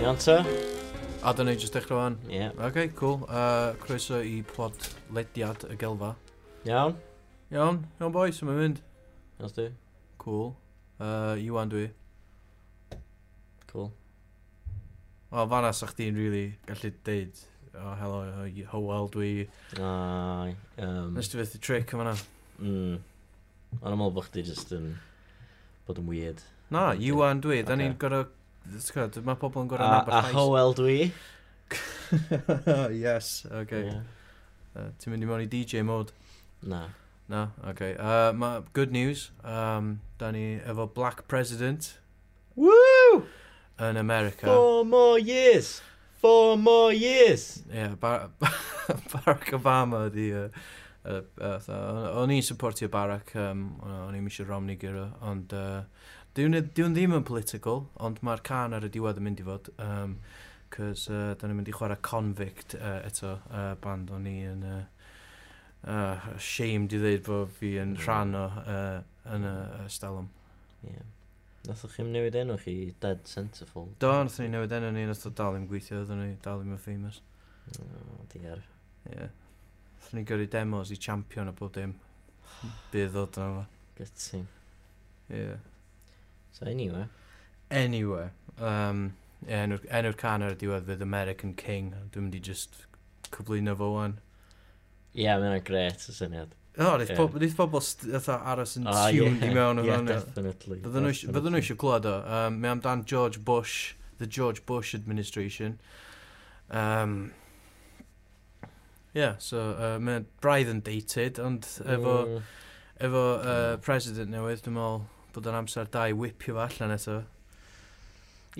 Iawn ta? A dyna i jyst dechrau fan. Ie. OK, cool. Uh, croeso i plod lediad y gelfa. Iawn? Iawn, iawn boys, yma'n mynd. Iawn ti? Cool. Uh, Iwan dwi. Cool. O, fanna sa chdi'n really gallu deud, oh, helo, uh, Howell dwi. Ai. Um, Nes ti fyth i trick yma na. mm, Ond yn meddwl bod chdi jyst yn bod yn weird. Na, Iwan dwi, da Ocê. ni'n gorau... Gwrdd, mae pobl yn gorau A, a nabod Howell dwi. llais. yes, OK. Ie. Uh, Ti'n mynd i mewn i DJ mode. Na. Na, OK. Uh, ma, good news, um, da ni efo Black President Woo! yn America. Four more years! Four more years! Ie, yeah, Bar Barack Obama ydi... yy, yy, yy, fatha- O'n i'n supportio Barack, um, o'n i'n eisiau Romney gyro, ond uh, diwn ddim yn political, ond mae'r can ar y diwedd yn mynd i fod, um, cos uh, da ni'n mynd i chwarae Convict uh, eto, uh, band o'n i'n uh, uh, shamed i ddeud bod fi yn rhan o uh, yn y y stalwm. Ie. Nathoch chi'n newid enw chi i Dead Centerfold. Do, nath ni newid enw ni, nath o dal i'm gweithio, oedden ni dal i'm yn famous. O, diar. Ie. Yeah. Nath ni gyrru demos i champion a bob dim. Bydd ddod yna fo. Gutting. Ie. So anyway. Anyway, um, ie, enw'r enw can ar y diwedd fydd American King. Dwi'n mynd i just cyflwyno fo wan. Ie, yeah, mae'n gret y syniad. O, neith Ie. pob- neith pobl st- fatha aros yn Ah, tuned i mewn o Ie, fan. definitely. Fydden nhw isio- fydden definitely. nhw eisiau clywed o. Um, Mae amdan George Bush, the George Bush administration. Um, yeah, so uh, mae braidd yn dated, ond efo... Mm. Efo uh, president newydd, dwi'n meddwl bod yn amser da i wipio fo allan eto.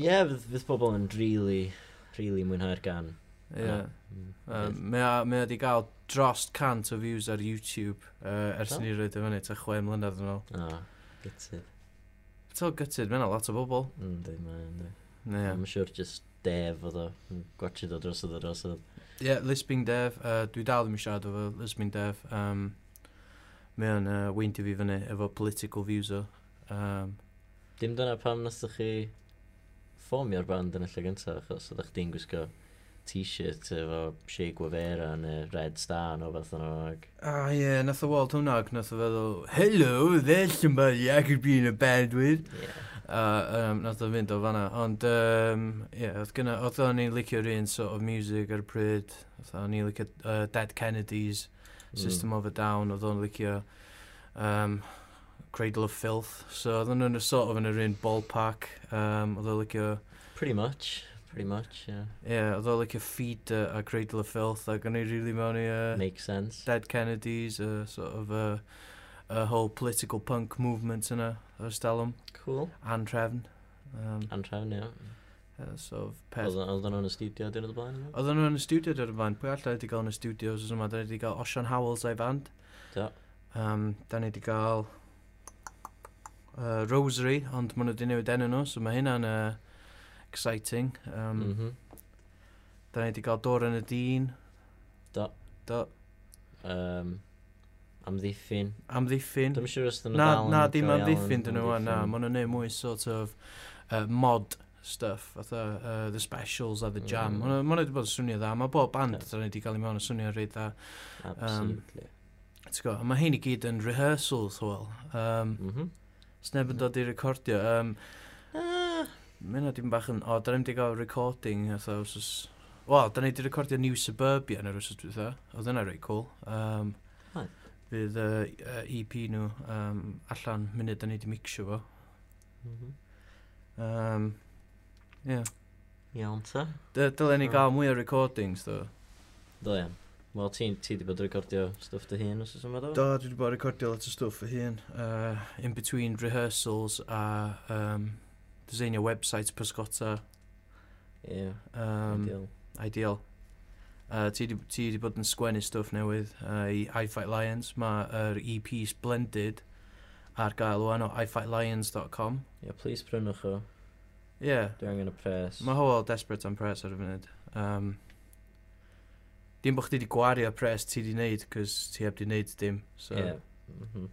Ie, fydd, fydd pobl yn rili, rili mwynhau'r gan. Ie. Um, Mae o- mae o wedi cael drost cant o views ar YouTube uh, ers Do? ni roed o fyny, ta chwe mlynedd yn ôl. O, gytid. It's all gutted, mae'n lot o bobl. Ynddi, mae ynddi. Ie, yeah. I'm sure just def oedd o. yn Gwatchyd o drosodd o drosodd. yeah, Lisbing Dev, uh, dwi dal ddim yn siarad efo Lisbing Dev. Um, mae o'n uh, weindio fi fyny efo political views o. Um, Dim dyna pam nes chi ffomio'r band yn y lle gyntaf, achos oedd chdi'n gwisgo t-shirt efo Che Guevara neu Red Star neu beth yna. Ag... Ah, ie, yeah, nath o weld hwnna ac nath o feddwl, Hello, there's somebody I could be in a band with. Yeah. A um, nath o fynd o fanna. Ond, um, ie, yeah, oedd gynna, oedd o'n i'n licio'r un sort of music ar y pryd. Oedd o'n i'n licio uh, Dead Kennedys, Mm. System of a Down, oedd o'n licio um, Cradle of Filth. So oedd o'n yn y sort of yn yr un ballpark. Um, oedd o'n licio, Pretty much, pretty much, yeah. ie, yeah, oedd o'n licio Feed uh, a Cradle of Filth. Ac o'n i'n really mewn i uh, Makes sense. Dead Kennedys, uh, sort of uh, a whole political punk movement yna, o'r stalwm, Cool. and Trefn. Um, Antrawn, ie. uh, sort of peth. Oedd oedd nhw'n y studio dyn oedd y blaen? Oedden nhw yn y studio dyr y fan, pwy allai wedi gael yn y studio os yma, da ni wedi gael Osian Howells a'i band. Do. Um, da ni wedi gael uh, Rosary, ond maen nhw wedi newid enw nhw, so mae hynna'n uh, exciting. Um, mm. Mhm. Da ni wedi gael Dora yn y Dyn. Do. Do. Um, amddiffyn. Amddiffyn. Dwi'n siŵr os dyn nhw Na, dal yn Mm. na, dim cael ei amddiffyn dyn nhw, alw'n wan, na, amddiffyn. maen nhw'n neud mwy sort of uh, mod stuff, fatha uh, the specials a the jam. Mm. Mm. Maen nhw wedi bod yn swnio dda, mae bob band Ie. da ni wedi cael ei mewn yn swnio reit dda. Absolutely. Ti'n gwybod, mae hyn i gyd yn rehearsals, wel. Um, Mhm. Sneb yn dod i recordio. Um, Ah, Mae hynna dim bach yn... O, da ni'n di gael recording, eitha, os oes... Wel, da ni di recordio New Suburbia yn yr wrth dwytha. Oedd yna reit cool. Um, Oedd. Fydd uh, EP nhw um, allan munud da ni di mixio fo. mhm. Um, yeah. Iawn ta. D- Dylen ni Sure. gael mwy o recordings, do. Do iawn. Wel, ti, ti di bod yn recordio stwff dy hun os oes yma do? Do, dwi wedi bod yn recordio lot o stwff fy hun. Uh, in between rehearsals a um, designio website pysgota. Ie, Um, ideal. Ideal. Uh, ti 'di- ti wedi bod yn sgwennu stwff newydd uh, i I Fight Lions. Mae'r EP E Splendid ar gael o'n o ifightlions.com. Yeah, please prynwch o. Ie, yeah, Dwi angen y pres. mae hoel desperate am pres ar y funud. Um, dim bod chdi wedi gwario pres ti wedi wneud, cos ti heb wedi wneud dim. So. Yeah. Mhm.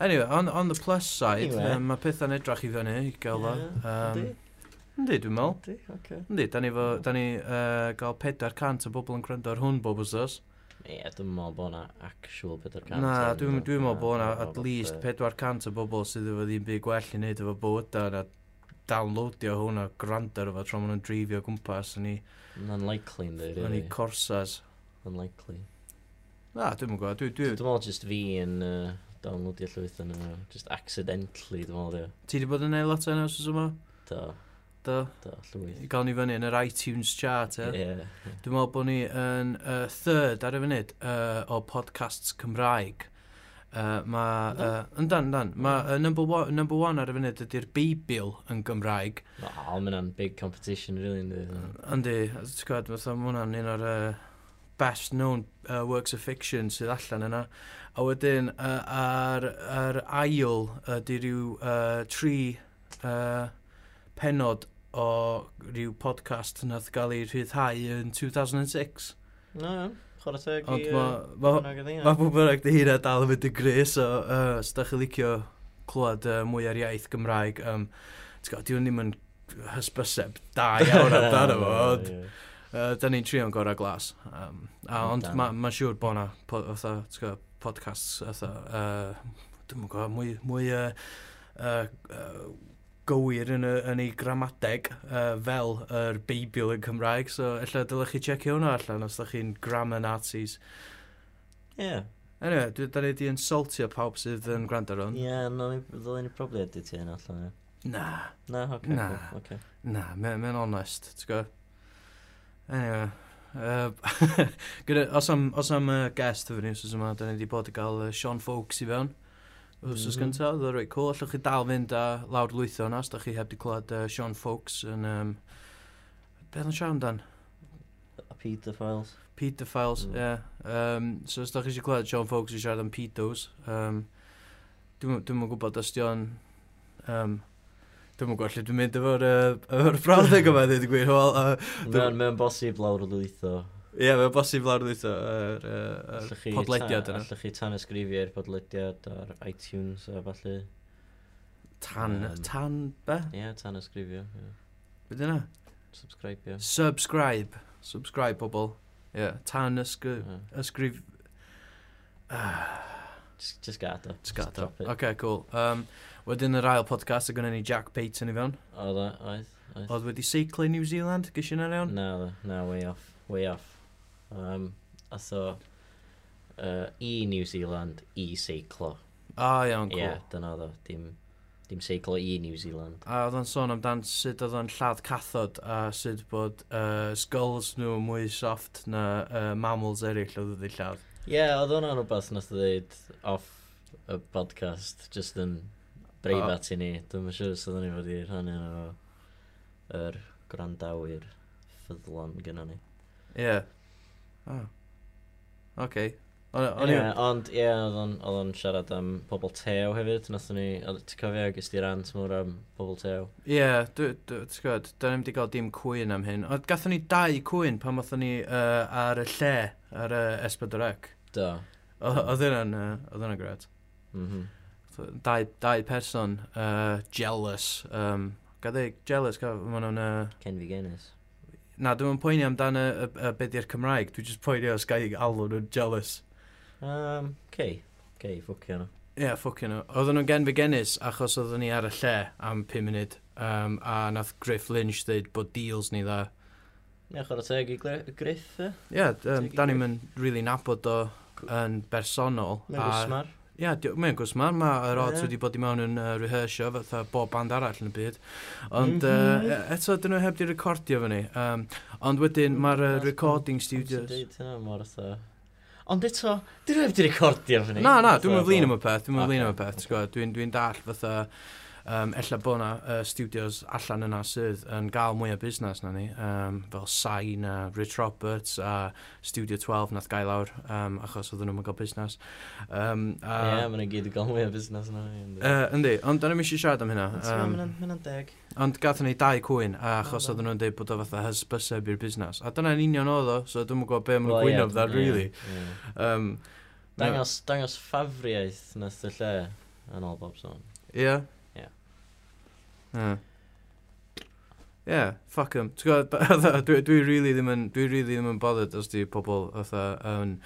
Anyway, on, on the plus side, Anyway. anyway. um, mae pethau'n edrach i fyny i gael o. Ie, Um, yndi, Yndi, dwi'n meddwl. yndi, oce. Yndi, da ni, fo, da ni uh, gael 400 o bobl yn gwrando ar hwn bob wrthos. Ie, dwi'n meddwl bod na actual 400. Na, dwi'n dwi meddwl bod yna dwi'n at meddwl least bod, 400 o bobl sydd efo ddim byd gwell i wneud efo bod a na downloadio hwn a gwrando ar efo tro maen nhw'n dreifio o gwmpas yn ei yy, yn Unlikely, ynddi, really. corsas. Unlikely. Na, dwi'n gwybod, dwi, Dwi'n dwi, meddwl just fi yn yy, downloadio llwyth yn yma. Just accidentally, dwi'n meddwl, ie. ti wedi bod yn neud lot o'n os yma? Do, Do, do, llwyth. i gael ni fyny yn yr iTunes chart, e? Ie. Dwi'n meddwl bod ni yn uh, third ar y funud uh, o podcasts Cymraeg. Uh, mae... Uh, yndan, yndan. Mae uh, number, one- number one ar y funud ydy'r Beibil yn Gymraeg. No, mae'n an big competition, really, ynddi. Yndi, ti'n gwybod, fatha ma' hwnna'n un o'r uh, best known uh, works of fiction sydd allan yna. A wedyn, uh, ar, ar ail ydy rhyw uh, tri uh, penod o rhyw podcast nath gael ei rhyddhau yn 2006. No, iawn, chwarae teg i... Ond yy, mae... Ma, ma, Cymraeg iddi, ie. Mae pob bynnag dy hynna dal yn mynd yn gres, so uh, os da chi licio clywed uh, mwy ar iaith Gymraeg, um, ti'n gwybod, diwn ddim yn hysbyseb da iawn amdano fo, ond Ie. uh, da ni'n trio'n gorau glas. Um, a, ond Amdano. mae'n ma siŵr bod yna po, fatha, ti'n gwybod, podcasts, fatha, uh, dwi'n gwybod, mwy, mwy uh, uh, uh, gywir yn, y, yn ei gramadeg uh, fel yr Beibl yn Cymraeg, so ella dylech chi checio hwnna allan os da chi'n grammar nazis. Ie, Anyway, dwi, da ni di insultio pawb sydd yn gwrando ar hwn. ie, no, mi- ddylen ni probably edit ti hyn allan, ie. Na, Na, oce, Na. cool, oce. na, mae'n ma onest, ti'n gwybod? Anyway, uh, gyda, os am, os am uh, guest efo ni, os yma, da ni di bod i gael uh, Sean Folks i fewn. Os oes Mhm. gyntaf, oedd o'n reit cool. Allwch chi dal fynd a lawr lwytho hwnna, os da chi heb di clywed uh, Sean Folks yn... Um, Beth yn siarad amdan? A pedophiles. Pedophiles, Mm. ie. Yeah. Um, so os da chi eisiau clywed John Fawkes yn siarad am pedos, um, dwi'n dwi gwybod os di o'n... Um, dwi'n gwybod lle dwi'n mynd efo'r uh, efo brawddeg yma, dwi'n gwir. Wel, uh, Mae'n mae'n bosib lawr o lwytho. ie, yeah, mae'n bosib lawr ddwytho, yr uh, Allwch uh, chi podlediad ta- yna. Allwch chi tan ysgrifio'r podlediad ar iTunes a falle. Tan, Yym. tan, be? Ie, tan ysgrifio. ie. Beth yna? Subscribe, ie. Subscribe. Subscribe, pobl. Ie, yeah. tan ysgrif... Ie. ysgrif... Just just gada. Just Sgata. drop it. OK, cool. Um, wedyn yr ail podcast, y gynnu ni Jack Payton i fewn. Oedd o, oedd, oedd. Oedd wedi seiclo i New Zealand, gysi yna'n iawn? Na, oedd o, na, way off, way off. Um, Atho, uh, i New Zealand, i seiclo. A iawn, Ie, cool. yeah, dyna oedd o, dim, dim seiclo i New Zealand. A oedd o'n sôn amdan sut oedd o'n lladd cathod a sut bod uh, skulls nhw mwy soft na uh, mammals eraill oedd wedi lladd. Ie, yeah, oedd hwnna'n rhywbeth nath o ddeud off y podcast, just yn breifat i ni. Dwi'n mynd siŵr sydd ni wedi rhannu nhw yr grandawyr ffyddlon gyda ni. Ie. Yeah. Oh. Oce. O'n Ie, i'n... ond ie, oedd o'n- oedd o'n siarad am pobl tew hefyd, nath ni, oedd- ti'n cofio gys di rant mwr am pobl tew? Ie, dwi- dwi- ti'n gwybod, da ni'n wedi cael dim cwyn am hyn. Ond gathon ni dau cwyn pan oedden ni uh, ar y lle, ar y uh, Esbydorec. Do. Oedd hwnna'n uh, gred. Mhm. Dau, dau person, uh, jealous. Um, Gael ei jealous, gael, maen nhw'n... Uh, Ken fi genis. Na, dwi'n poeni amdano y, y, y beth i'r Cymraeg. Dwi'n just poeni os gael alw nhw'n jealous. Um, cei. Cei, ffwcio nhw. Ie, yeah, ffwcyn nhw. Oedden nhw'n gen begenis achos oedden ni ar y lle am 5 munud. Um, a nath Griff Lynch dweud bod deals ni dda. Ie, chwarae teg i Gri- Griff, e? Ie, yeah, um, da ni'n mynd really nabod o yn bersonol. Mae'n gwsmar. Ie, yeah, mae'n gwsmar. Mae'r odds Ie. wedi bod i mewn yn uh, rehearsio fatha bob band arall yn y byd. Ond Mhm. uh, eto, dyn nhw heb di recordio fyny. Um, ond wedyn, mae'r uh, That's recording Dwi'n studios... dweud hynna mor otho. Ond eto, dyn nhw heb di recordio fyny. Na, na, dwi'n mynd flin am y peth, dwi'n mynd Ocê. flin am y peth, ti'n gwybod, dwi'n dwi dall fatha Um, ella bod yna uh, studios allan yna sydd yn gael mwy o busnes na ni, um, fel Sain a Rich Roberts a Studio 12 nath gael lawr, um, achos oedden nhw'n gael busnes. Um, a, Ie, yeah, mae'n gyd i gael mwy o busnes na ni. yndi. Uh, yndi, ond da ni'n eisiau siarad am hynna. Ond ti'n gwbod, Mae'n mae'n deg. Ond gathon ni dau cwyn, a O, achos da. oedden nhw'n dweud bod o fatha hysbyseb i'r busnes. A dyna'n union oedd o, so dwi'n gwybod be Wel, maen nhw'n ie, gwyno fydda, ie, really. ie. Um, Dangos, dangos ffafriaeth nath y lle yn ôl bob sôn. Ie? Ie. Ie. Ie, fuck 'em. Ti'n gwbod, fatha, dwi, dwi really ddim yn, dwi really ddim yn bothered os di pobl fatha yn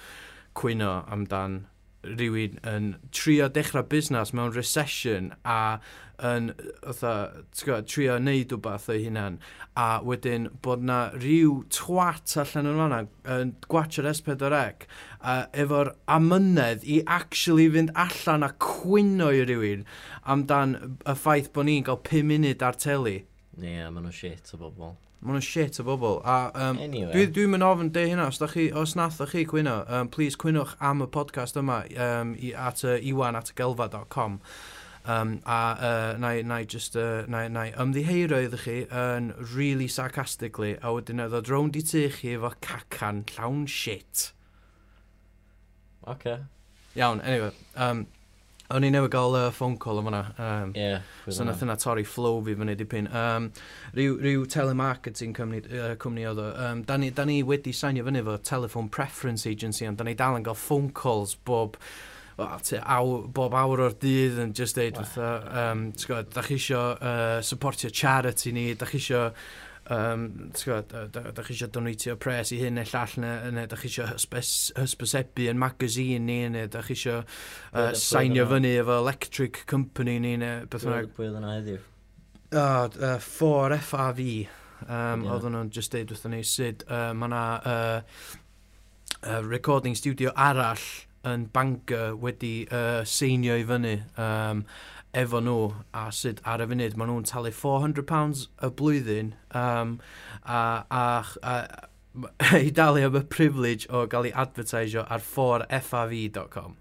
cwyno amdan rhywun yn trio dechrau busnes mewn recession a yn fatha, ti'n gwbod, trio neud wbath o'i hunan a wedyn bod na rhyw twat allan yn fanna yn gwachio'r S4C a efo'r amynedd i actually fynd allan a cwyno i rywun amdan y ffaith bod ni'n cael 5 munud ar teli. Ie, yeah, maen nhw shit o bobl. Mae nhw'n shit o bobl. A um, Anyway. dwi, dwi'n mynd ofyn de hynna, os, da chi, os nath chi cwyno, um, please cwynwch am y podcast yma um, i, at uh, iwan at gelfa.com. Um, a uh, na, i- na, i just, uh, na, i- na i ymddiheiro iddo chi yn really sarcastically a wedyn oedd o drownd i tu chi efo cacan llawn shit. Oce. Ie, Iawn, anyway. Um, o'n i newid gael uh, phone call am hwnna. Um, yeah, So nath yna torri flow fi fyny dipyn. Um, ryw, ryw telemarketing cymni, uh, cwmni oedd o. Um, da, ni, da ni wedi sainio fyny fo Telephone Preference Agency, ond da ni dal yn gael phone calls bob wel, tua aw, bob awr o'r dydd yn just deud, Wel. fatha, um, ti'n gwybod, da chi isio uh, supportio charity ni, da chi isio Um, ti'n gwbod, da, da, da chi eisiau donatio pres i hyn neu llall neu, neu da chi eisiau hysbys- hysbysebu yn magazine ni neu da chi eisiau Pwy oedd y- uh, pwy oedd sainio yna? fyny efo electric company ni neu beth bynnag. Pwy oedd yna heddiw? O, uh, 4 FRV. Um, Ie. Oedden nhw'n just deud wrthyn ni sut uh, mae yna uh, uh, recording studio arall yn Bangor wedi uh, seinio i fyny um, efo nhw a sut ar y funud maen nhw'n talu £400 y blwyddyn um, a, a, a, a i dalu am y privilege o gael ei advertisio ar 4FRV.com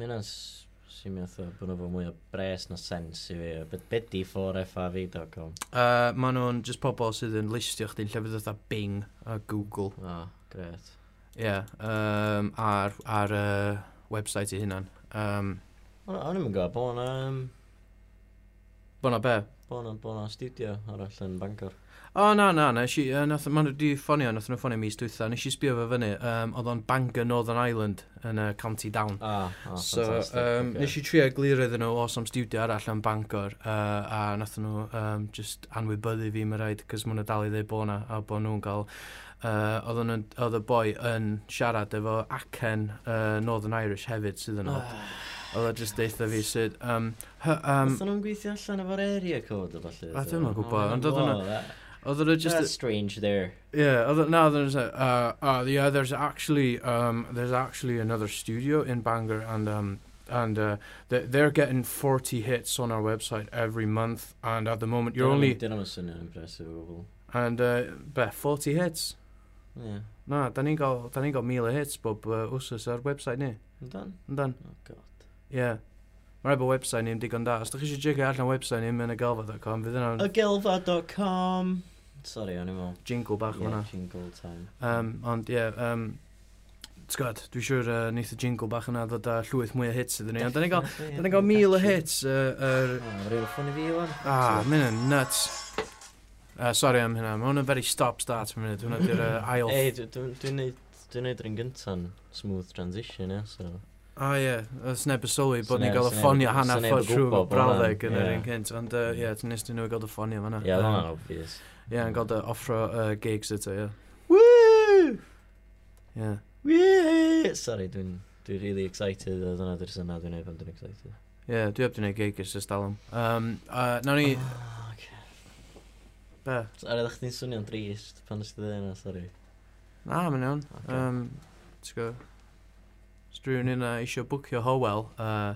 Mae'n as... Si'n mynd o bod nhw fod mwy o bres na sens i fi. Bet be di 4fav.com? uh, Maen nhw'n just pobl sydd yn listio chdi'n llefydd oedd Bing a Google O, oh, gret. Ie, yeah, um, ar, ar uh, website i hunan. Um, O'n o'n i'm yn gwybod, bod na... Um, Bona be? bod na, bo na studio arall yn Bangor. O, oh, na, na, na, si, uh, nath, ma'n wedi ffonio, nath nhw ffonio mis dwytha, nes i sbio fe fyny, um, oedd o'n Bangor Northern Ireland yn uh, County Down. Ah, oh, so, fantastic. um, ocê. nes i trio glir iddyn nhw os am studio arall am Bangor, uh, a nath nhw um, just anwybyddu fi mae rhaid, cos mwyn y dal i ddeud bo na, a bo nhw'n cael Uh, oedd nhw'n- oedd y boi yn siarad efo acen uh, Northern Irish hefyd sydd yn odd. Ah. Oedd o just deitha fi sydd... Um, hy- um, Oedden nhw'n gweithio allan efo'r area code o falle. A ydyn dwi'm yn nhw? gwbod, Oh, ond oedden nhw- wow, that- Oedd o'n That's just... strange there. Yeah, oedd o- na, oedd o'n just... like, Uh, uh, yeah, there's actually... Um, there's actually another studio in Bangor and... Um, and uh, they- they're getting 40 hits on our website every month. And at the moment, you're only... Dyn nhw'n swnio'n impressive o bobl. And, uh, be, 40 hits? Ie. Na, da ni'n gael, da ni'n gael mil o hits bob uh, wsos ar website ni. Dan? Yndan, Oh god. yeah. Mae'r efo website ni'n digon da. Os da chi eisiau jigo allan website ni'n mynd y galfa.com, fydd yna'n Agelfa.com Sorry, o'n i'n meddwl. jingle bach yeah. Yeah, hwnna. jingle time. Um, ond ie, yeah, um, Tgod, dwi siwr uh, neith y jingle bach yna ddod â llwyth mwy o hits iddyn ni, ond da ni gael, Definitely, da ni ie, gael mil o catchy. hits. Uh, er, O, Mae'n rhywbeth ffwn i fi, Iwan. ah, mynd yn nuts. Uh, sorry am hynna, mae hwnna'n very stop-start am hynny, hwnna di'r uh, ail... Ei, dw- dw- dwi'n neud... Dwi'n neud rhywun gynta'n smooth transition, ie, so... O ie, oedd sneb y sylwi bod Sneb- ni'n gael y sneb- ffonio hanner sneb yn ffordd trwy fy gwbod bod brawddeg yn hwnna'n- yr ie. un cynt, ond yy, ie, ti'n nes nhw i gael y ffonio fanna. Ie, oedd hwnna'n obvious. Ie, yn gael dy offro uh, gigs eto, ie. Woo! Ie. Wee! Sorry, dwi'n... Dwi'n really excited, a dyna di'r syna dwi'n neud pan dwi'n excited. Ie, dwi heb di wneud gig ys ystalwm. Um, uh, nawn ni, Oh, okay. be? Ar ydych chdi'n swnio'n drist pan ysdi ddyn yna, sorry. Na, mae'n iawn. Ocê. Um, Ti'n gwybod? Os dwi'n un eisiau bwcio Howell, uh,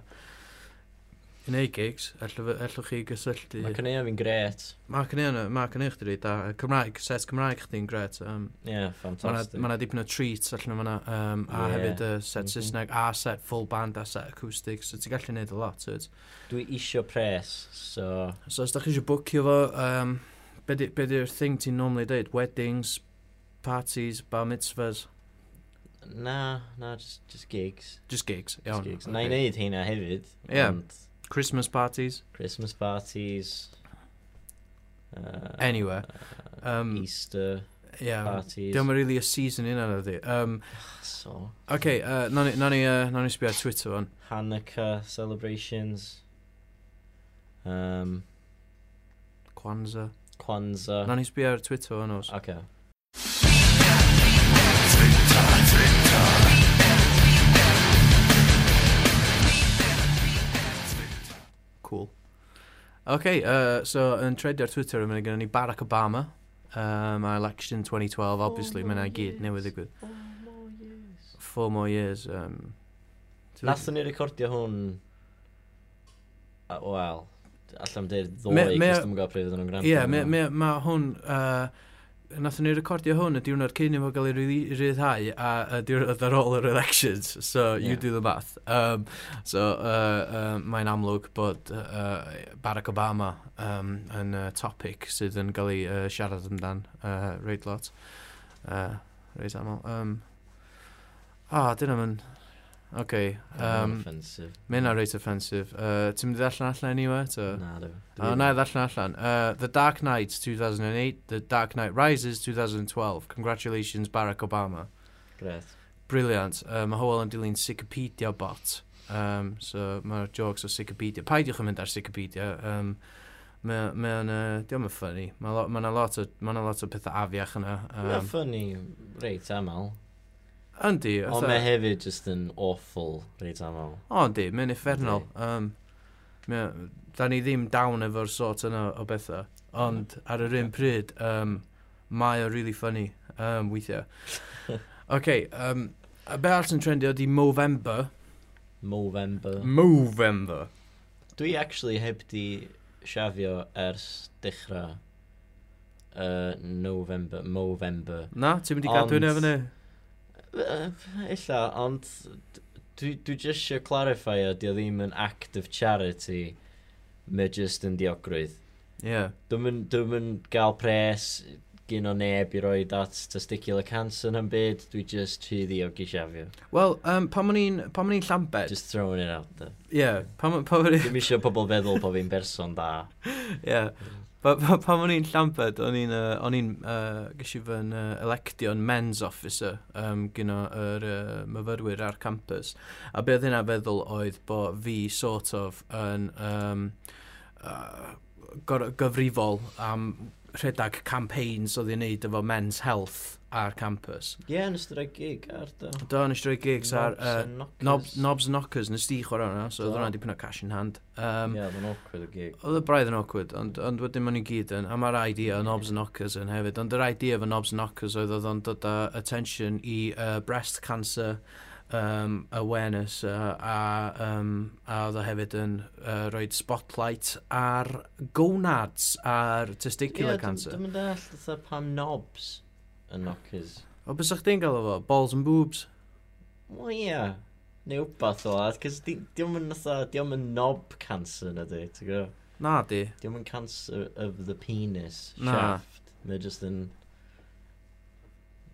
i neud gigs, allw- allwch chi gysylltu. Mae cynnig fi'n gret. Mae cynnig ma cynnig chdi reit da. Cymraeg, set Cymraeg chdi'n gret. Um, Ie, yeah, fantastic. Mae yna dipyn o treats allan yma um, a Ie. hefyd uh, set Mhm. Saesneg a set full band a set acoustic so ti'n gallu neud a lot tyd. Dwi isio pres, so... So os da chi eisiau bwcio fo um, be di- be di'r thing ti'n normally deud weddings, parties, bar mitzvahs Na, na, just, just gigs. just gigs Just iawn. gigs. Ocê. Na i wneud hynna hefyd. Ie. ond Christmas parties Christmas parties. Uh, anywhere. uh, Um, Easter Yeah, parties. Diolch yn really a season in yna ydi. Um, So, OK, uh, nawn ni- nawn ni uh, nawn ni sbio ar Twitter fan. Hanukkah celebrations. Um, Kwanzaa. Kwanzaa. Nawn ni sbio ar Twitter fan os. Okay. Cool. OK, uh, so yn tredi ar Twitter yma gyda ni Barack Obama. Um, a election 2012, obviously, mae yna i gyd newydd digwydd. Four more years. Um, Ti- Nath ni recordio hwn... a- Wel, allan dweud ddoi, Me- cos me- dwi'n gael pryd oedden nhw'n gwrando. Ie, arno. mae ma, ma hwn... Uh, Nath ni recordio hwn y diwrnod cyn i fo gael ei ryddi- ryddhau a y diwrnod ar ôl yr elections, so you Ie. do the math. Um, so uh, uh, mae'n amlwg bod uh, Barack Obama um, yn uh, topic sydd yn cael ei uh, siarad amdan uh, reit lot. Uh, reit aml. Um, a, dyn nhw'n... Okay, um, Offensive. mae hynna reit offensive. Uh, Ti'n mynd i ddarllen allan i we? eto? Na, dwi. O, na, ddarllen allan. Uh, The Dark Knight 2008, The Dark Knight Rises 2012. Congratulations, Barack Obama. Gret. Brilliant. Uh, mae Howell yn dilyn Wikipedia bot. Um, so, mae'r jokes o Wikipedia. Paidiwch yn mynd ar Wikipedia. Um, mae mae o'n... Uh, Diolch yn ffynnu. Mae lo, ma 'na lot, o- ma 'na lot o pethau afiach yna. Na Um, ffynnu reit aml. Yndi. Ond fatha- mae hefyd just yn awful reit aml. O, yndi. Mae'n effernol. Um, mae, da ni ddim down efo'r sort yna o bethau. Ond ar yr un pryd, um, mae o really funny um, weithiau. OK, um, a be arall sy'n trendio ydi Movember. Movember. Movember. Dwi actually heb di siafio ers dechrau uh, November, Movember. Na, ti'n mynd i gadw hynny Ond- fyny? Uh, illa, ond d- dwi, dwi just eisiau clarify o, di o ddim yn act of charity, mae just yn diogrwydd. Ie. Dwi'n mynd dwi gael pres gyn o neb i roi at testicular cancer na'n byd, dwi just rhy ddiog i siafio. Wel, um, pan ma'n i'n pan ma'n i'n Llanbed... Ie, Just throwing it out there. yeah, pan ma- pan ma'n i'n... Dwi'n eisiau pobl feddwl bod fi'n berson da. Ie. Pa- pa- Pan o'n i'n Llanbed, o'n i'n, uh, o'n i'n, uh, gysi fy yn uh, electio'n men's officer um, gyno yr uh, myfyrwyr ar campus. A be oedd hynna feddwl oedd bod fi sort of yn um, uh, gor- gyfrifol am rhedeg campaigns oedd i'n neud efo men's health ar campus. Ie, yeah, nes dwi'n gig ar da. Do, nes i roi gigs ar uh, Knobs, Knobs knobs and Knockers, nes di chwarae hwnna, so oedd Do. hwnna dipyn o cash in hand. Um, Ie, oedd yn awkward o gig. Oedd y braidd yn awkward, ond, ond wedyn ma'n i gyd yn, a mae'r idea o knobs and knockers yn hefyd, ond yr idea efo knobs and knockers oedd oedd o'n dod â attention i uh, breast cancer um, awareness uh, a, um, a oedd o hefyd yn uh, rhoi spotlight ar gonads a'r testicular cancer. Dwi'n deall dda pam knobs yn knockers. O bys o'ch di'n gael efo? Balls and boobs? Wel ie, neu wbath o ad, cos diwm yn dda, diwm yn knob cancer na di, ti'n gwybod? Na di. Diwm yn cancer of the penis, Na. shaft. Mae just yn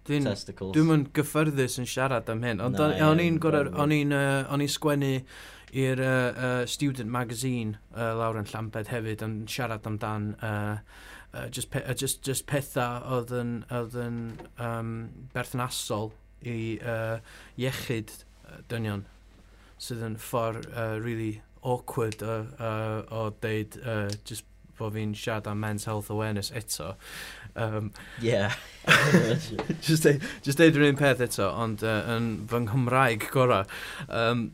Dwi'n testicles. Dwi'n yn gyffyrddus yn siarad am hyn, ond Na, o'n- ie, o'n i'n dwi'n gorau, gweld. o'n i'n yy, o'n i'n sgwennu i'r uh, uh, student magazine uh, lawr yn Llanbed hefyd yn siarad amdan uh, uh, just, pe uh, just, just pethau oedd yn, oedd yn um, berthnasol i uh, iechyd uh, dynion sydd yn ffordd uh, really awkward uh, uh, o deud uh, just bod fi'n siarad am men's health awareness eto um, Ie. just deud, just deud yr un peth eto, ond uh, yn fy Nghymraeg gorau. Um,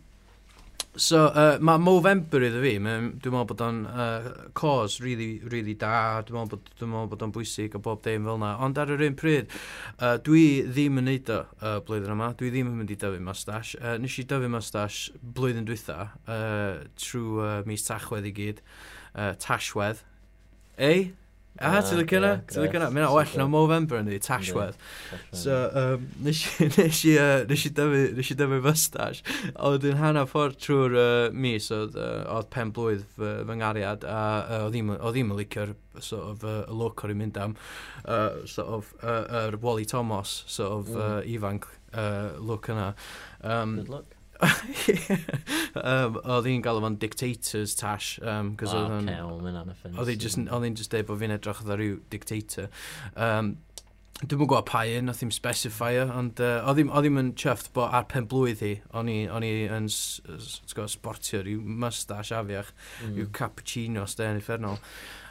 So, uh, mae Movember iddo fi, mae- dwi'n meddwl bod o'n uh, cause really, really da, dwi'n meddwl bod, dwi'n meddwl bod o'n bwysig a bob dim fel yna, ond ar yr un pryd, uh, dwi ddim yn neud o uh, blwyddyn yma, dwi ddim yn mynd i dyfu mustache. Uh, nes i dyfu mustache blwyddyn dwytha, uh, trwy uh, mis tachwedd i gyd, uh, tashwedd. Ei? Ah, A, ti'n lycio na? ie, Ti'n lycio na? grêt, Mae'n well na super. Movember yn di, tashwedd. So, um, nes i, nes i, uh, nes i dyfu, nes i dyfu mustache. A wedyn hanner ffordd trwy'r uh, mis oedd, uh, oedd pen blwydd fy, fy ngariad, a uh, oedd ddim- oedd ddim yn licio'r sort of, uh, look o'r i'n mynd am, uh, sort of, uh, yr Wally Thomas, sort of, Mm. uh, ifanc uh, look yna. Um, Good luck. um, oedd hi'n galw fo'n dictators tash, um, cos Ah, oedd Ocê, o'n... wel, mae'n anaffens. Oedd hi'n just, oedd hi'n just deud bod fi'n edrych oedd rhyw dictator. Um, Dwi'n mwyn gwybod pa un, oedd hi'n specifier, ond uh, oedd hi'm- oedd hi'm yn chuffed bod ar pen blwydd hi, o'n i o'n i yn s- s- ti'n gwbod, sportio rhyw mustache afiach, Mm. rhyw cappuccino stein effernol.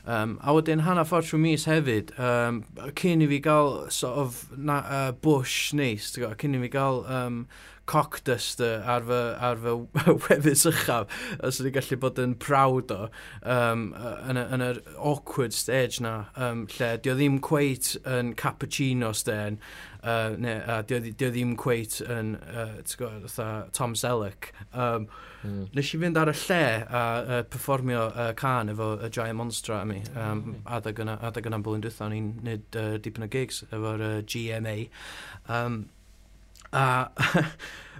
Um, a wedyn hana ffordd trwy mis hefyd, um, cyn i fi gael sort of na, uh, bush neis, ti'n gwbod, cyn i fi gael um, cock duster ar fy, ar fy wefus uchaf, os ydy gallu bod yn proud o, um, y- yn y- yn yr awkward stage na, um, lle dio ddim cweit yn cappuccino stein, uh, ne, a dio, dio ddim cweit yn, uh, ti'n gwybod, fatha Tom Selleck. Um, Mm. Nes i fynd ar y lle a uh, performio uh, can efo y Giant Monstra am i. Um, adeg yna, adeg yna blwyddyn dwi'n ni'n neud uh, dipyn o gigs efo'r uh, GMA. Um, a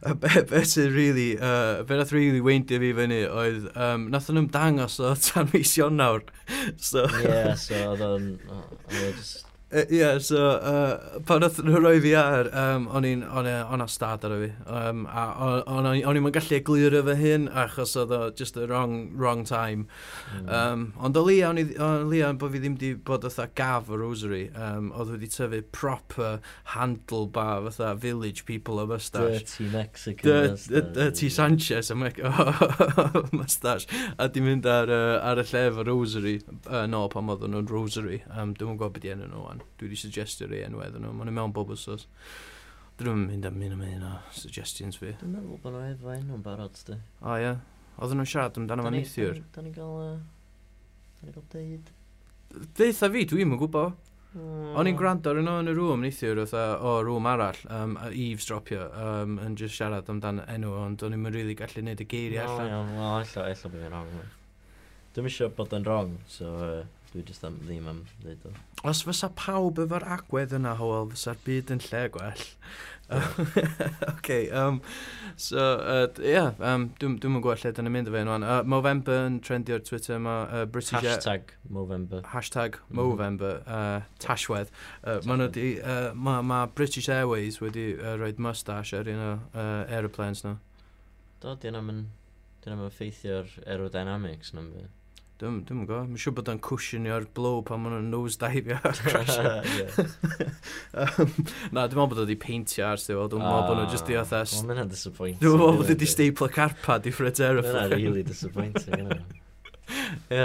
a be, be sy'n really, uh, be nath really weindio fi fyny oedd, um, nath nhw'n dangos o tan mis Ionawr. so, Ie, so oedd o'n... o- Oedd o'n just... Yy, Ie, yeah, so uh, pan oedd nhw roi fi ar, um, o'n i'n o'n i- o'n astad ar y fi, um, a o- o'n i- o'n i'n gallu eglurio fy hyn, achos oedd o just the wrong, wrong time. Mm. Um, ond o lia, o'n i- o lia bod fi ddim wedi bod fatha gaf o rosary, um, oedd wedi tyfu proper handlebar fatha village people o mustache. Dirty Mexican uh, Dy- dy- mustache. Dirty Sanchez am ec- o mustache a di mynd ar, uh, ar y lle efo Rosary uh, no pan oedden nhw'n Rosary um, dwi'n gwybod beth i enw nhw wan dwi wedi suggestio rei enw iddyn nhw maen nhw mewn bob wsos dwi'n mynd am un am un o suggestions fi Dwi'n meddwl bod nhw efo enw'n barod, dy. o ie oedden nhw'n siarad Da amdano fan ni- da neithiwr ni- Da ni'n gael... yy, Da ni'n gael deud. deitha fi dwi'n yn gwybod Mm. O'n i'n gwrando ar nhw yn y rŵm neithiwr oedd o rŵm arall, um, a eavesdropio, um, yn just siarad amdan enw, ond o'n i'n really gallu neud y geiriau allan. iawn, wel, ella, ella bod fi'n wrong. we. Dwi'm eisiau bod yn wrong, so uh, dwi jyst am ddim am ddeud o. Os fysa pawb efo'r agwedd yna, Howell, fysa'r byd yn lle gwell. OK, um, so, uh, d- ie, yeah, um, dwi'n dwi gweld lle dyn ni'n mynd efo hyn, wan. Uh, Movember yn trendio ar Twitter, mae uh, British... Air- Hashtag Movember. hashtag Mhm. Movember, uh, Tashwedd. Uh, Mae nhw 'di, uh, ma, ma British Airways wedi uh, rhoi mustache ar un o uh, aeroplanes nhw. Do, di yna yn... Di yna yn ffeithio'r aerodynamics na'n byd. Dwi'n dwi gwybod, mae'n siŵr bod o'n cushionio'r blow pan maen nhw'n nose dive ar crasio. Dwi'n um, na, dwi'n meddwl bod o wedi peintio ar stiwl, dwi'n meddwl bod nhw'n just di otha Ah, Wel, mae'n disappointing. Dwi'n meddwl bod wedi rili. staple carpad i Fred Mae'n Aeroplane. really disappointing. yna. Ie.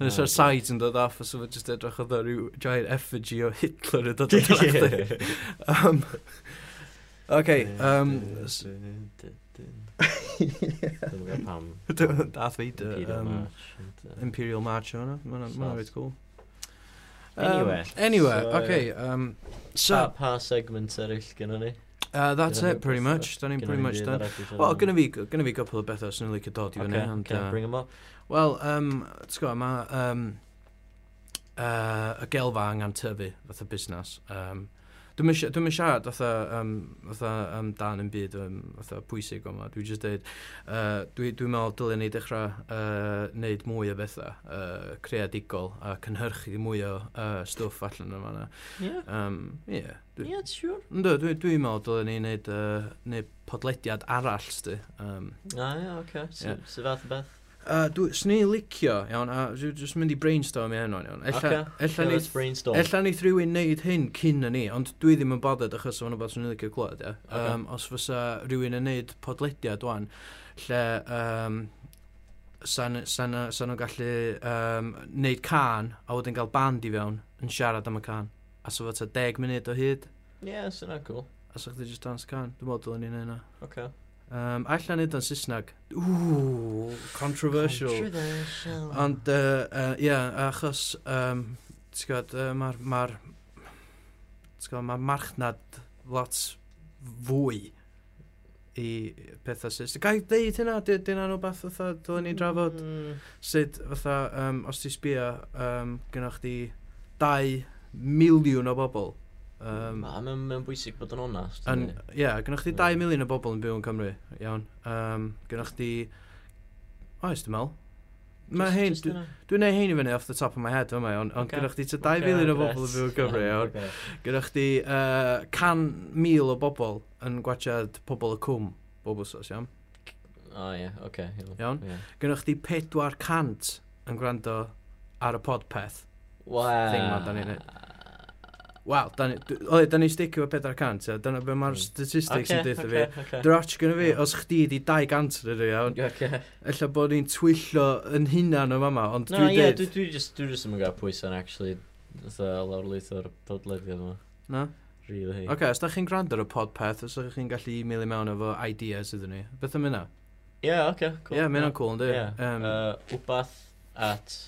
Nes Ah, o'r ie. sides yn dod off, os oedd jyst edrych oedd o ryw giant effigy o Hitler yn dod o'r drafty. Ie. Um, OK, um, s- Dwi'n gwybod pam. Dwi'n- Darth Vader. Imperial um, March and, uh, Imperial March o hwnna. Mae'n Soft. reit cool. Um, Anyway, Anyway, so, Ah, OK. Um, Pa, so, pa segment eraill gynnu ni? uh, that's Gynna it, ni pretty wbath much. Da ni'n Gynna pretty ni much fydd done. arall i siarad Wel, am? gynna fi, gynna fi couple o bethau sy'n licio dod i fyny. Ocê, ond, ocê, uh, bring 'em up. Wel, um, ti'n gwybod, mae um, uh, y gelfa angen tyfu fath o busnes. Um, Dwi'n mynd dwi siarad fatha, um, fatha um, dan yn byd um, fatha pwysig o'ma. Dwi'n just dweud, uh, dwi'n dwi meddwl dylen ni dechrau uh, wneud mwy o bethau uh, creadigol a cynhyrchu mwy o uh, stwff allan yn fanna. Ie, Um, yeah, dwi, ie, siwr. Yndw, dwi- dwi'n meddwl dylen ni wneud, uh, wneud podlediad arall, sti. Um, A ie, oce. Ie. Sy- Sy'n fath o beth? Uh, Swn i'n licio, iawn, a dwi'n just mynd i brainstorm i heno, iawn. Ella, Ocê, ella ocê, ni... let's brainstorm. Ella ni rhywun wneud hyn cyn yn ni, ond dwi ddim yn bothered achos o'n rhywbeth swn i'n licio clywed, ie. Ocê. Um, os fysa rhywun yn wneud podlediad wan, lle um, sa'n sa nhw'n gallu um, wneud can a wedyn cael band i fewn yn siarad am y can. A so fod ta 10 munud o hyd, Ie, sy'n na, cool. a so chdi just dance can. Dwi'n meddwl dylen ni'n hynna. Ocê. Um, allan nid o'n Saesneg. Ww, controversial. Controversial. Ond, yy, yy, ie, achos, um, ti'n gwybod, uh, mae'r, ma ma ma marchnad lot fwy i pethau Saesneg. Ga i ddeud hynna? Di- Di hynna'n rhywbeth fatha dylen ni drafod? Mm, Sut fatha, um, os ti sbio, um, gynnwch chi 2 miliwn o bobl. Um, Ma, mae'n ma bwysig bod yn onast. Yn, yndi? ie, gynnwch chi 2 Ie. miliwn o bobl yn byw yn Cymru, iawn. Um, gynnwch chi... Oes, dwi'n meddwl. Mae Jyst- hyn, jyst dwi- yna. dwi'n neud hyn i fyny off the top of my head yma, iawn. Ond Ocê. gynnwch chi tua Ocê, 2 miliwn o bobl reit. yn byw yn Cymru, iawn. Ocê. Gynnwch chi uh, 100,000 o bobl yn gwachad pobl y cwm, bob wsos, iawn. O ie, oce. iawn, Iawn. ie. Gynnwch chi 400 yn gwrando ar y podpeth. Waa. Thing ma, dan ni'n neud. Wel, da ni, dwi- o, da ni sticio fo 400, ia. dyna be mae'r Mm. statistics Ocê, yn dweud fi. ocê, ocê. Drotch gyda fi, Ie. os chdi di 200 rydw i, iawn. Ocê. Ella bod ni'n twyllo yn hunan o fama, ond No, dwi'n ie, deud... dwi dwi just, dwi just yn gael pwysau'n actually fatha lawr lwyth o'r podlediad yma. Na? Really. Oce, os da chi'n gwrando ar y podpeth, os da chi'n gallu email i mewn efo ideas ydyn ni. Beth am yna? Ie, oce, Ie, cool. yeah, mae'n cool, ynddi? Ie, Um, yy, wbath at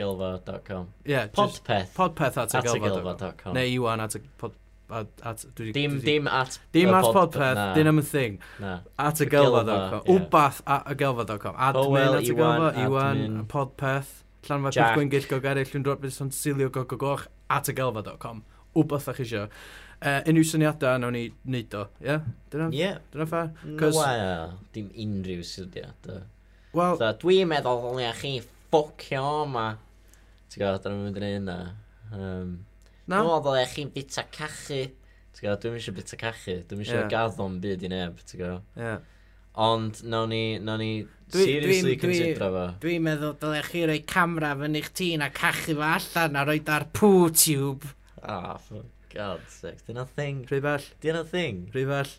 ygelfa.com. yeah, just Podpeth podpeth at y at gelfa. ygelfa.com. Neu Iwan at y pod... at- at- dwi 'di- Dim, dwi 'di- dim at... Dim y at pod- podpeth, na, dim am y thing. Na. At y Y gelfa.com. gelfa, ie. Wbath at y gelfa.com. Admin Powell, at Oh, y Iwan, gelfa, Iwan, admin. podpeth. Llanfa Pwch Jack. Gwengill Gogeryll, Llyn Drotbyd, Son Silio Gogogoch, at y gelfa.com. Wbath a'ch eisiau. Uh, unrhyw syniadau, nawn ni wneud o. Ie? Yeah? Dyna Ie. Dyna ffa. No, 'Cos- wel, dim unrhyw sydiad. Wel, Tha, dwi'n meddwl ddylia chi ffocio yma. Ti'n gwybod, dyna mynd yn hynna. Um, na. Dwi'n meddwl ddylia chi'n bita cachu. Ti'n gwybod, dwi'n eisiau bita cachu. Dwi'n eisiau Ie. yeah. gaddo'n byd i neb, ti'n gwybod. Ie. Ond, nawn ni, nawn ni Dwi- seriously dwi'n- dwi- considro fo. Dwi'n meddwl dylai chi roi camera fyny eich tîn a cachu fo allan a roi ar poo tube. Ah, for God's sake. Dyna thing. Rhybell, Dyna thing. rhybell.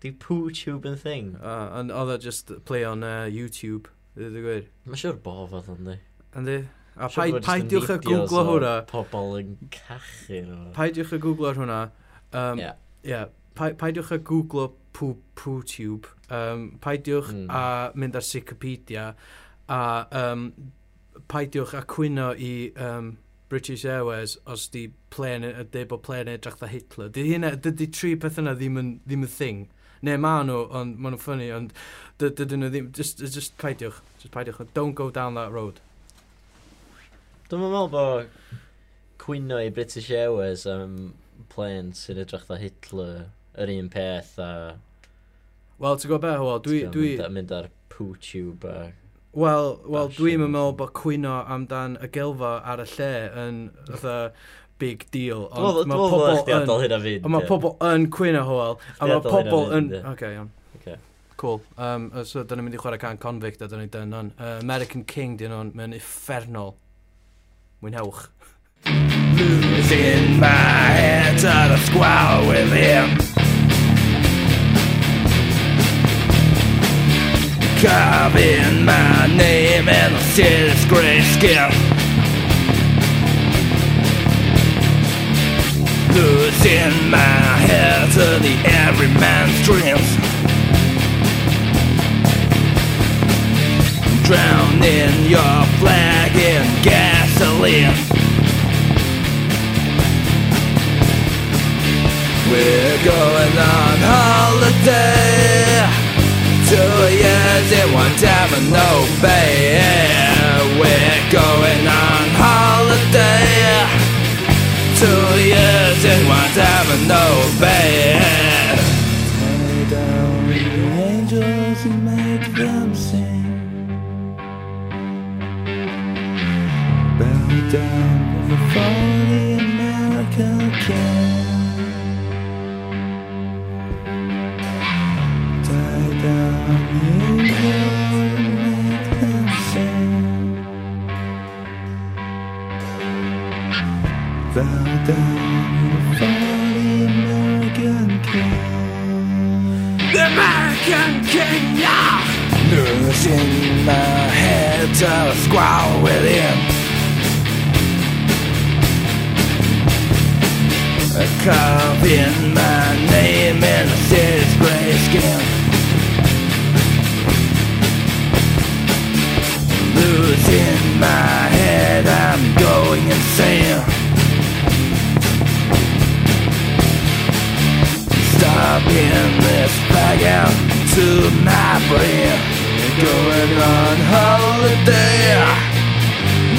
Di poo-tube yn thing. Uh, and oedd o just play on uh, YouTube. Dwi'n gwir. Mae siwr bo fodd yn di. Yndi? A pa- paidiwch a googlo hwnna. Pobl yn cachu nhw. Paidiwch a googlo hwnna. Um, Ie. Ie. Pa- Paidiwch a googlo poo- PooTube. Um, paidiwch Mm. a mynd ar Wikipedia. A um, paidiwch a cwyno i um, British Airways os di plen, y deud bod plen edrych dda Hitler. Di hynna, dydy tri peth yna ddim yn, ddim yn thing. Neu ma nhw, ond ma nhw'n ffynnu, ond dy- dydyn nhw ddim, just, just paidiwch, just paidiwch, don't go down that road. Dwi'n meddwl bod cwyno i British Airways am plen sy'n edrych dda Hitler yr un peth a Wel, ti'n gwybod beth, wel, dwi, ti'n gwbod, dwi, mynd, a mynd ar poo-tube a... Wel, wel Bash dwi'n him. meddwl bod cwyno amdan y gelfa ar y lle yn fatha big deal. Ond Dwi'n mae meddwl bod pobl chdi yn... adael hyn a fynd. Ond mae ie. pobl yn cwyno hwyl. A Chdi mae adael hyn a pobl yn... fynd, ie. OK, iawn. Ocê. Cool. Um, uh, so, dyna mynd i chwarae can convict a dyna ni dyn nhw'n. Uh, American King dyn nhw'n. Mae'n effernol. Mwynhewch. Losing my head to the squall with him. Carving my name in the city's gray skin. Losing my head to the everyman's dreams. Drowning your flag in gasoline. We're going on holiday Two years in one time and no pay We're going on holiday Two years in one time and no pay Lay down the angels and make them sing Bow down before the American king Tie down the angels and make them sing. Bow down before the American king. The American king, yeah! Nursing my head to a squall with him. Carving my name in a city's gray skin. It's in my head, I'm going insane. Stopping this back out to my brain. Going on holiday.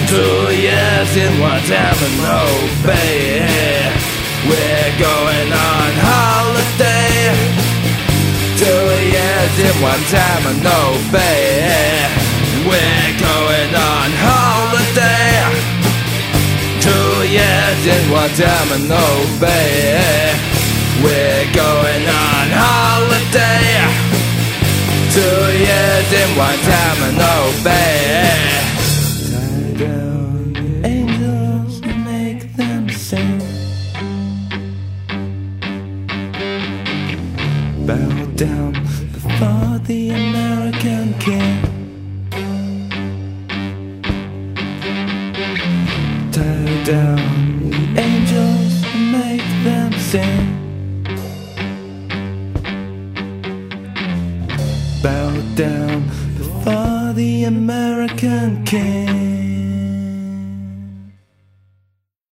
Two years in one time and no pay. We're going on holiday. Two years in one time and no pay. We're going on holiday. Two years in one time and no pay. We're going on holiday. Two years in one time and no pay. Tie down angels and make them sing. Bow down before the American king. Tie down the angels and make them sing. Bow down before the American king.